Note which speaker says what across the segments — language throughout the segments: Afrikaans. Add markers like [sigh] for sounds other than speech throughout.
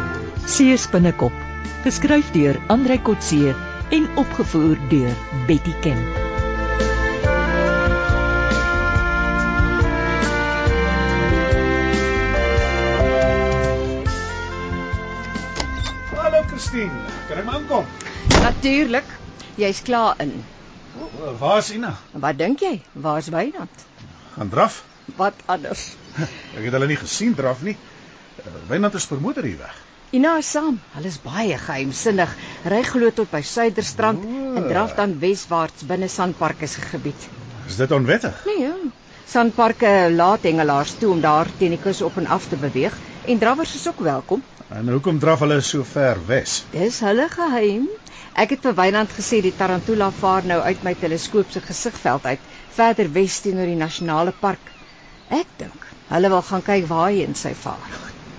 Speaker 1: Kotse se binnekop, geskryf deur Andrei Kotse en opgevoer deur Betty Ken.
Speaker 2: Hallo Christine, kan ek maar aankom?
Speaker 3: Natuurlik. Jy's klaar in.
Speaker 2: O, Waar is Ina?
Speaker 3: Wat dink jy? Waar's Wynand?
Speaker 2: Gaan draf?
Speaker 3: Wat anders?
Speaker 2: Ek het hulle nie gesien draf nie. Eh, Wynand is vermoeder hier weg.
Speaker 3: Ina is saam. Hulle is baie geheimsinnig. Ry glo tot by Suiderstrand
Speaker 2: O.
Speaker 3: en draf dan weswaarts binne Sanpark se gebied.
Speaker 2: Is dit onwettig?
Speaker 3: Nee, ja. Sanparke laat hengelaars toe om daar teen die kus op en af te beweeg en drawers is ook welkom.
Speaker 2: En hoekom draf hulle so ver wes?
Speaker 3: Dis hulle geheim. Ek het vir Wynand gesê die tarantula vaar nou uit my teleskoop se gesigveld uit, verder wes teenoor die nasionale park. Ek dink hulle wil gaan kyk waarheen sy vaar.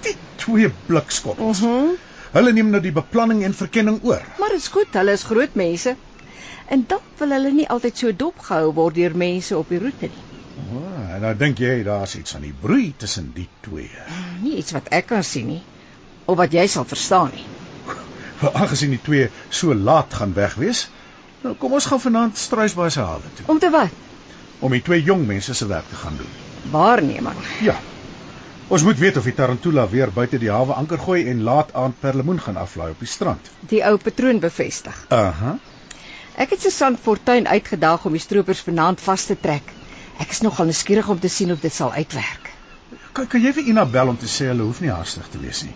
Speaker 2: Die twee blikskoppels.
Speaker 3: Mhm.
Speaker 2: Hulle neem nou die beplanning en verkenning oor.
Speaker 3: Maar dit is goed, hulle is groot mense. En dan wil hulle nie altyd so dopgehou word deur mense op die roete nie.
Speaker 2: O, en nou dink jy daar's iets aan die broei tussen die twee.
Speaker 3: Nie iets wat ek kan sien nie of wat jy sal verstaan nie.
Speaker 2: Maar aangesien die twee so laat gaan weg wees, nou kom ons gaan vanaand struisbaai se hawe toe
Speaker 3: Om te wat?
Speaker 2: om die twee jong mense se werk te gaan doen.
Speaker 3: Waarneming.
Speaker 2: Ja. Ons moet weet of die Tarantula weer buite die hawe anker gooi en laat aand perlemoen gaan aflaai op die strand.
Speaker 3: Die ou patroon bevestig.
Speaker 2: Aha.
Speaker 3: Ek het Susan Fortuin uitgedaag om die stroopers vanaand vas te trek. Ek is nogal nuuskierig om te sien of dit sal uitwerk.
Speaker 2: Kan kan jy vir Ina bel om te sê hulle hoef nie haastig te wees nie.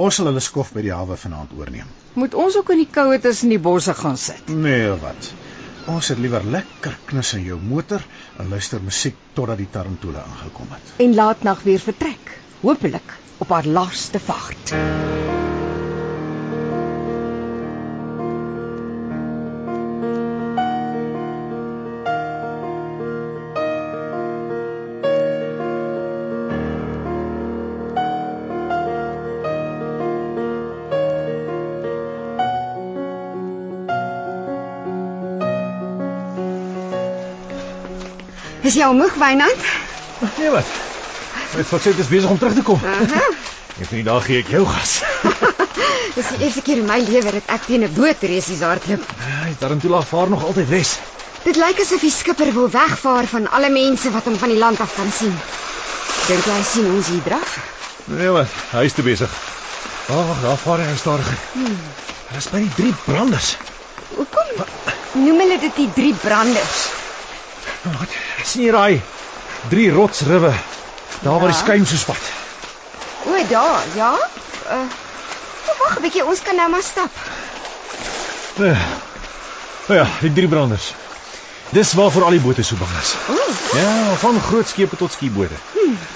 Speaker 2: Ons sal hulle skof by die hawe vanaand oorneem.
Speaker 3: Moet ons ook in die koue tussen die bosse gaan sit?
Speaker 2: Nee, wat? Ons het liewer lekker knus in jou motor en luister musiek totdat die Tarantula aangekom het.
Speaker 3: En laat nag weer vertrek, hopelik op haar laaste vaart. Is jy al moeg, Wynand?
Speaker 2: Nee, wat? Dit sou sê dit is besig om terug te kom.
Speaker 3: Aha.
Speaker 2: En vir die dag gee [laughs] ek jou gas.
Speaker 3: Dis die eerste keer in my lewe dat ek teen 'n bootresies hardloop.
Speaker 2: Die Tarantula vaar nog altyd wes.
Speaker 3: Dit lyk asof die skipper wil wegvaar van alle mense wat hom van die land af kan sien. Dink jy hy sien ons hier draf?
Speaker 2: Nee, wat? Hy is te besig. Ag, daar vaar hy stadig. Hmm. Dis by die drie branders.
Speaker 3: Hoekom noem hulle dit die drie branders?
Speaker 2: Oh, Wat? sien jy daai drie rotsriwe? Daar waar die skuim so spat.
Speaker 3: O, daar, ja. Uh, wag 'n bietjie, ons kan nou maar stap.
Speaker 2: Uh, nou ja, die drie branders. Dis waarvoor al die bote so bang is.
Speaker 3: O,
Speaker 2: Ja, van groot skepe tot skiebote.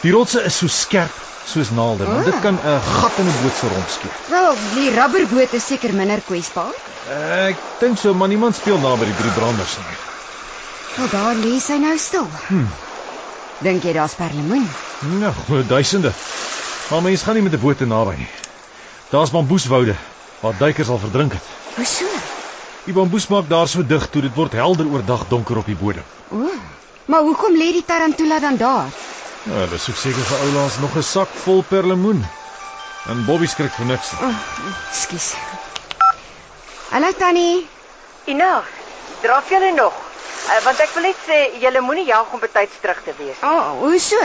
Speaker 2: Die rotse is so skerp soos naalde, want dit kan 'n gat in 'n boot se romp skiet.
Speaker 3: wel, die rubberboot is seker minder kwesbaar.
Speaker 2: Uh, ek dink so, maar niemand speel naby die drie branders nie.
Speaker 3: Maar daar lê sy nou stil. Hmm. Dink jy daar's perlemoen?
Speaker 2: Nou, glo duisende. Maar mense gaan nie met 'n boot te naby nie. Daar's bamboeswoude waar duikers al verdrink het.
Speaker 3: Hoe so?
Speaker 2: Die bamboes maak daar so dig toe dit word helder oordag donker op die bodem.
Speaker 3: O. Maar hoekom lê die tarantula dan daar?
Speaker 2: Nou, hulle soek seker vir oulaas nog 'n sak vol perlemoen. En Bobby skrik vir niks. nie.
Speaker 3: Oh, Ekskuus. Hallo Tannie.
Speaker 4: Ina, draf julle nog? Uh, want ek wil net sê julle moenie jag om betyds terug te wees.
Speaker 3: O, oh, hoe so?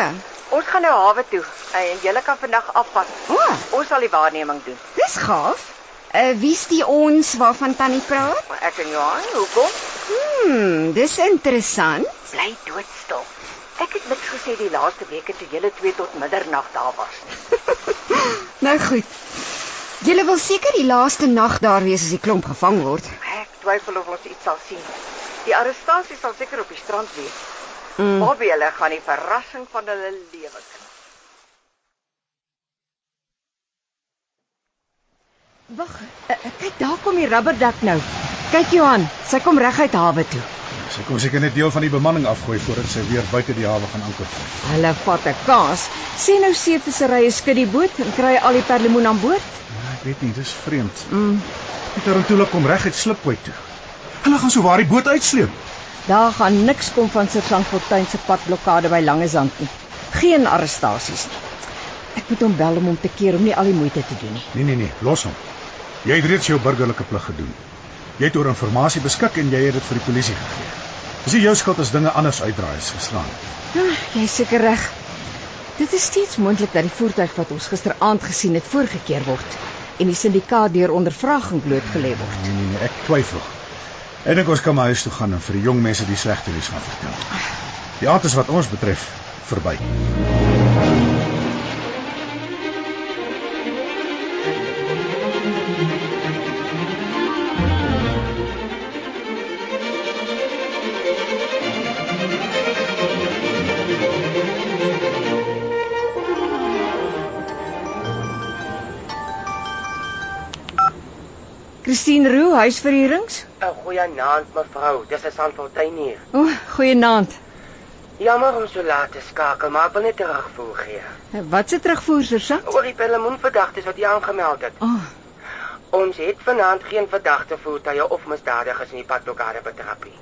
Speaker 4: Ons gaan nou hawe toe uh, en julle kan vandag afpas.
Speaker 3: O, oh,
Speaker 4: Ons sal die waarneming doen.
Speaker 3: dis gaaf. Uh, wie's die ons waarvan Tannie praat?
Speaker 4: Maar ek en Johan, hoekom?
Speaker 3: Hmm, dis interessant.
Speaker 4: Bly doodstil. Ek het niks gesê die laaste weke toe julle twee tot middernag daar was nie.
Speaker 3: Nou goed. Julle wil seker die laaste nag daar wees as die klomp gevang word.
Speaker 4: Ek twyfel of ons iets sal sien. Die arrestasie sal seker op die strand wees.
Speaker 3: Mm.
Speaker 4: Bobby hulle gaan die verrassing van hulle lewe kry.
Speaker 3: Wag, uh, uh, kyk daar kom die rubberdak nou. Kyk Johan, sy kom reguit hawe toe.
Speaker 2: Sy kon seker net deel van die bemanning afgooi voordat sy weer buite die hawe gaan anker.
Speaker 3: Hulle vat 'n kaas. Sien nou seevisserye skud die boot en kry al die perlemoen aan boord.
Speaker 2: Ja, ek weet nie, dis vreemd.
Speaker 3: Mm.
Speaker 2: Die tarantula kom reguit slipkooi toe. Hulle gaan so waar die boot uitsleep.
Speaker 3: Daar gaan niks kom van Sir Sanfortuin se padblokkade by Langezand nie. Geen arrestasies nie. Ek moet hom bel om hom te keer om nie al die moeite te doen nie.
Speaker 5: Nee nee nee, los hom. Jy het reeds jou burgerlike plig gedoen. Jy het oor inligting beskik en jy het dit vir die polisie gegee. Dis nie jou skuld as dinge anders uitdraai is verstaan.
Speaker 3: Ah, jy is seker reg. Dit is steeds moontlik dat die voertuig wat ons gisteraand gesien het voorgekeer word en die syndikaat deur ondervraging blootgelê word.
Speaker 5: Nee nee nee, ek twyfel. Ek dink ons kan maar huis toe gaan en vir die jong mense die slegte nuus gaan vertel. Die aand is wat ons betref verby.
Speaker 3: Christine Roo, huisverhuurings?
Speaker 4: 'n Goeie naand mevrou, dis 'n Sandfontein hier.
Speaker 3: O, oh, goeienaand.
Speaker 4: Jammer om so laat te skakel, maar ek wil net terugvoer gee.
Speaker 3: Wat se terugvoer, Susan?
Speaker 4: Oor die perlemoenverdagtes wat jy aangemeld het.
Speaker 3: O, oh,
Speaker 4: Ons het vanaand geen verdagte voertuie of misdadigers in die padblokkade betrap nie.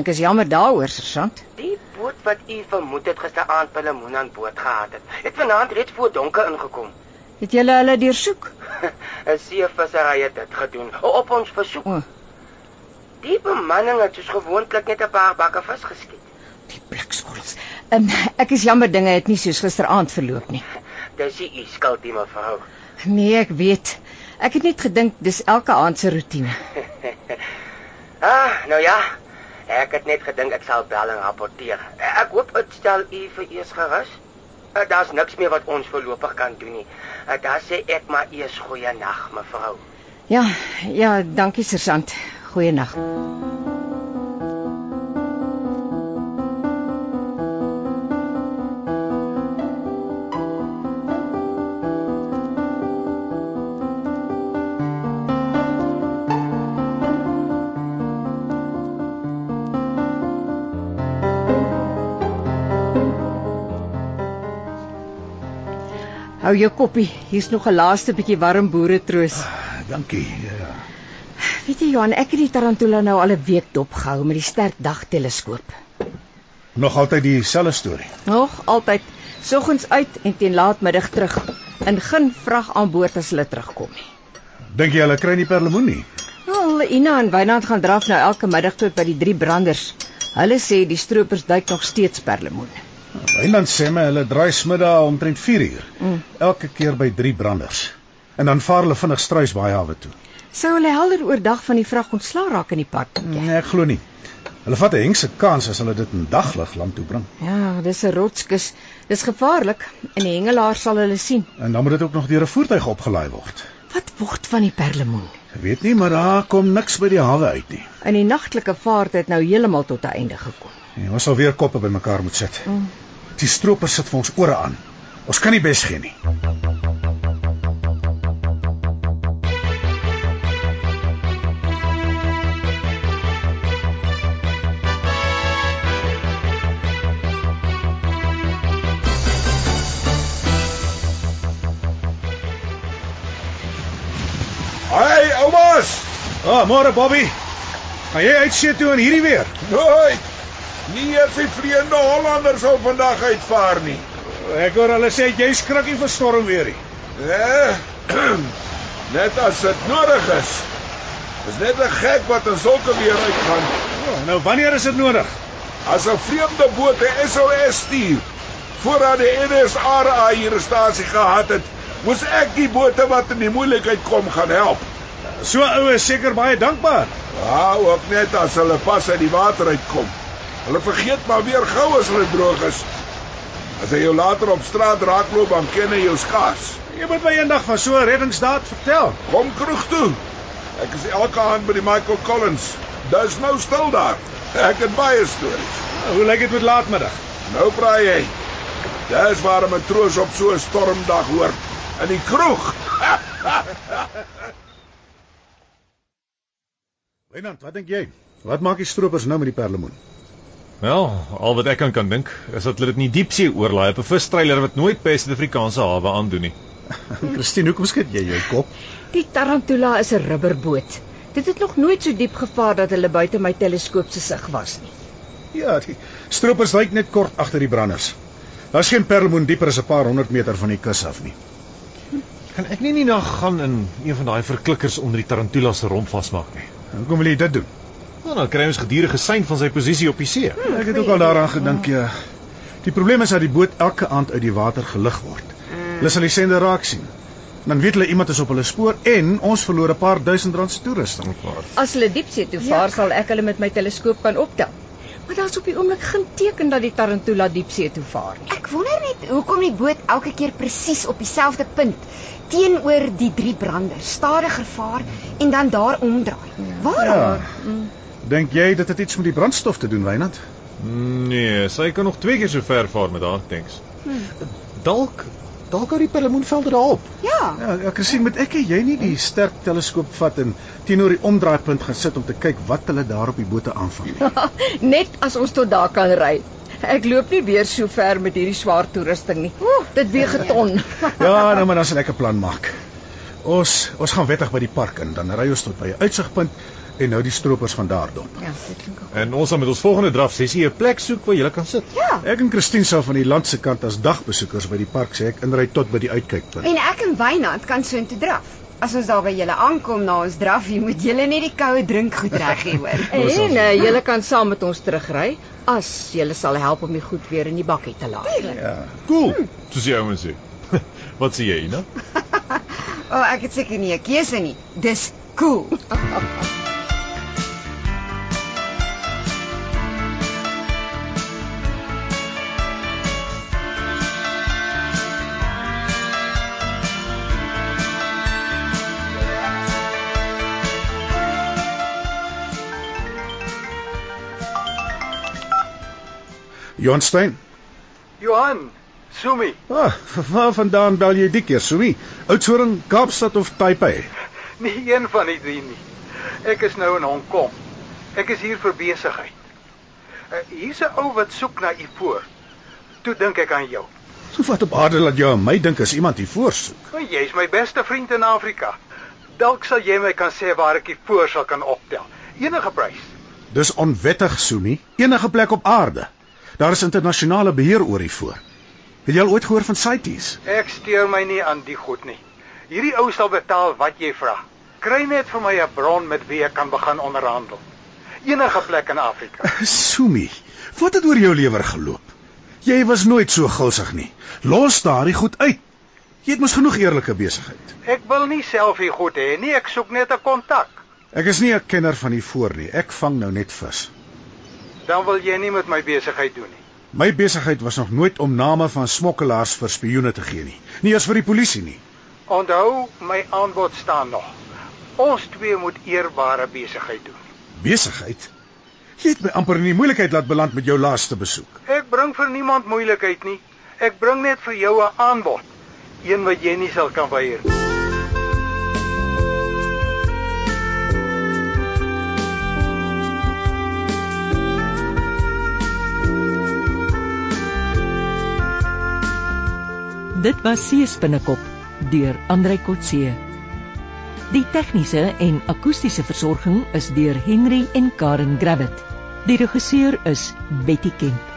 Speaker 3: ek is jammer daaroor, Susan.
Speaker 4: Die boot wat u vermoed het gisteraand by Lemoen aan boord gehad het, het vanaand reeds voor donker ingekom. [laughs]
Speaker 3: Het julle hulle deursoek?
Speaker 4: 'n Seevissery het dit gedoen op ons versoek.
Speaker 3: O.
Speaker 4: Die bemanning het soos gewoonlik net 'n paar bakke vis geskiet.
Speaker 3: Die blikskols. Um, ek is jammer dinge het nie soos gisteraand verloop nie.
Speaker 4: Dis nie u skuld nie, mevrou.
Speaker 3: Nee, ek weet. Ek het net gedink dis elke aand se roetine.
Speaker 4: [laughs] Ah, nou ja. Ek het net gedink ek sal bel en rapporteer. Ek hoop dit stel u vir eers gerus. Eh, Daar's niks meer wat ons voorlopig kan doen nie. Eh, Daar sê ek maar eers goeie nag, mevrou.
Speaker 3: Ja, ja, dankie sergeant. Goeienaand. Hou jou koppie. Hier's nog 'n laaste bietjie warm boere troos.
Speaker 5: Dankie. Ja.
Speaker 3: Weet jy Johan, ek het die tarantula nou al 'n week dopgehou met die sterk dagteleskoop.
Speaker 5: Nog altyd dieselfde storie.
Speaker 3: Nog altyd soggens uit en teen laatmiddag terug. In geen vrag aan boord as hulle terugkom nie.
Speaker 5: Dink jy hulle kry nie perlemoen nie?
Speaker 3: Wel, Ina en Wynand gaan draf nou elke middag tot by die drie branders. Hulle sê die stroopers duik nog steeds perlemoen.
Speaker 5: Wynand sê my hulle draai smiddag omtrent 4 uur. Mm. Elke keer by 3 branders. En dan vaar hulle vinnig struis baie hawe toe.
Speaker 3: Sou hulle helder oordag van die vrag ontslaa raak in die pad?
Speaker 5: Nee, ek glo nie. Hulle vat 'n hengse kans as hulle dit in daglig land toe bring.
Speaker 3: Ja, dis 'n rotskus. Dis gevaarlik en die hengelaar sal hulle sien.
Speaker 5: En dan moet dit ook nog deur 'n voertuig opgelaai word.
Speaker 3: Wat word van die perlemoen?
Speaker 5: Ek weet nie, maar daar kom niks by die hawe uit nie.
Speaker 3: In die nagtelike vaart het nou heeltemal tot 'n einde gekom.
Speaker 5: Nee, ons sal weer koppe bymekaar moet sit. Die stroopers sit vir ons ore aan. Ons kan nie bes gee nie.
Speaker 2: Hey, oumas!
Speaker 5: Ah, oh, môre Bobby. Gaan jy uitsee toe in hierdie weer?
Speaker 2: Nooit. Nie eers die vreemde Hollanders sal vandag uitvaar nie.
Speaker 5: Ek hoor hulle sê jy skrikkie vir storm weer nie.
Speaker 2: Eh, [clears throat] net as dit nodig is. Dis net 'n gek wat in sulke weer uitgaan.
Speaker 5: Oh, nou wanneer is dit nodig?
Speaker 2: As 'n vreemde boot 'n SOS stuur voordat die NSA hier 'n stasie gehad het, moes ek die bote wat in die moeilikheid kom gaan help.
Speaker 5: So ou is seker baie dankbaar.
Speaker 2: Hou ook net as hulle pas uit die water uitkom. Hulle vergeet maar weer gou as hulle droog is. As jy jou later op straat raakloop, dan ken jy jou skaars.
Speaker 5: Jy moet my eendag van so 'n reddingsdaad vertel.
Speaker 2: Kom kroeg toe. Ek is elke aand by die Michael Collins. Dis nou stil daar. Ek het baie stories.
Speaker 5: Hoe lyk dit met laatmiddag?
Speaker 2: Nou praai jy. Dis waar 'n matroos op so 'n stormdag hoor in die kroeg.
Speaker 5: [laughs] Wynand, wat dink jy? Wat maak die stroopers nou met die perlemoen?
Speaker 2: Wel, al wat ek aan kan dink is dat hulle dit nie diepsee oorlaai op 'n vistreiler wat nooit by Suid-Afrikaanse hawe aandoen nie.
Speaker 5: Christine, hoekom skud jy jou kop?
Speaker 3: Die tarantula is 'n rubberboot. Dit het nog nooit so diep gevaar dat hulle buite my teleskoop se sig was nie.
Speaker 5: Ja, die stroopers lyk net kort agter die branders.
Speaker 2: Daar's geen perlemoen dieper as 'n paar honderd meter van die kus af nie.
Speaker 6: Kan ek nie nie na gaan in een van daai verklikkers onder die tarantula se romp vasmaak nie.
Speaker 2: Hoekom wil jy dit doen?
Speaker 6: Nou dan kry ons gedurende sein van sy posisie op die see.
Speaker 2: Hmm, Ek het ook al daaraan gedink, ja. Die probleem is dat die boot elke aand uit die water gelig word. Hulle sal die sender raak sien. Dan weet hulle iemand is op hulle spoor en ons verloor 'n paar duisend rand se toerusting.
Speaker 5: As hulle diepsee toe vaar, sal ek hulle met my teleskoop kan optel. Ja. Maar daar's op die oomblik geen teken dat die Tarantula diepsee toe vaar nie.
Speaker 3: Ek wonder net hoekom die boot elke keer presies op dieselfde punt teenoor die drie branders stadiger vaar en dan daar omdraai. Waarom?
Speaker 2: Ja. Dink jy dit het iets met die brandstof te doen, Wynand?
Speaker 6: Nee, sy kan nog twee keer so ver vaar met haar tanks. Dalk dalk hou die er perlemoenvelde daarop.
Speaker 3: Ja.
Speaker 2: Ja, ek gesien met ek jy nie die sterk teleskoop vat en teenoor die omdraaipunt gaan sit om te kyk wat hulle daar op die bote aanvang
Speaker 6: [laughs]
Speaker 2: nie.
Speaker 5: Net as ons tot daar kan ry. Ek loop nie weer so ver met hierdie swaar toerusting nie. Oeh, dit weeg 'n ton.
Speaker 2: Ja, nou maar dan sal ek 'n plan maak. Ons ons gaan wettig by die park in, dan ry ons tot by 'n uitsigpunt en nou die stroopers van daar dop.
Speaker 5: Ja, dit klink ook.
Speaker 6: En ons gaan met ons volgende draf sessie 'n plek soek waar jy kan sit.
Speaker 2: Ek en Christine sal van die land se kant as dagbesoekers by die park sê ek inry tot by die uitkykpunt.
Speaker 3: En ek en Wynand kan soontoe draf. As ons daar by julle aankom na ons drafie, moet julle net die koue drink goed reg hê hoor.
Speaker 5: En uh, julle kan saam met ons terugry as julle sal help om die goed weer in die bakkie te laai.
Speaker 2: Ja.
Speaker 6: Cool. Soos die ouens sê.
Speaker 2: [laughs]
Speaker 6: Wat sê jy, nou?
Speaker 3: O, oh, ek het seker nie 'n keuse nie. Dis cool.
Speaker 2: Johan Stein.
Speaker 4: Johan, Sumi,
Speaker 2: Ah, [laughs] waar vandaan bel jy die keer, Sumi? Oudtshoorn, Kaapstad of Taipei?
Speaker 4: nie een van die drie nie. Ek is nou in Hong Kong. Ek is hier vir besigheid. Uh, hier's 'n ou wat soek na ivoor. Toe dink ek aan jou.
Speaker 2: So wat op aarde laat jou en my dink as iemand hier voorsoek.
Speaker 4: Want jy's my beste vriend in Afrika. Dalk sal jy my kan sê waar ek ivoor sal kan optel. Enige prys.
Speaker 2: Dis onwettig, Sumi. Enige plek op aarde. Daar is internasionale beheer oor hiervoor. Het jy al ooit gehoor van CITES?
Speaker 4: Ek steur my nie aan die goed nie. Hierdie ou sal betaal wat jy vra. Kry net vir my 'n bron met wie ek kan begin onderhandel. Enige plek in
Speaker 2: [laughs]
Speaker 4: Afrika.
Speaker 2: [laughs] Sumi, wat het oor jou lewer geloop? Jy was nooit so gulsig nie. Los daardie goed uit. Jy het mos genoeg eerlike besigheid.
Speaker 4: Ek wil nie self hier goed hê nie, ek soek net 'n kontak.
Speaker 2: Ek is nie 'n kenner van die voor nie. Ek vang nou net vis.
Speaker 4: Dan wil jy nie met my besigheid doen nie.
Speaker 2: My besigheid was nog nooit om name van smokkelaars vir spioene te gee nie. Nie eens vir die polisie nie.
Speaker 4: Onthou, my aanbod staan nog. Ons twee moet eerbare besigheid doen.
Speaker 2: Besigheid. Jy het my amper in die moeilikheid laat beland met jou laaste besoek.
Speaker 4: Ek bring vir niemand moeilikheid nie. Ek bring net vir jou 'n aanbod, een wat jy nie sal kan weier nie.
Speaker 1: Dit was Seespinnekop deur Andrei Kotse. Die tegniese en akoestiese versorging is deur Henry en Karen Gravett. Die regisseur is Betty Kemp.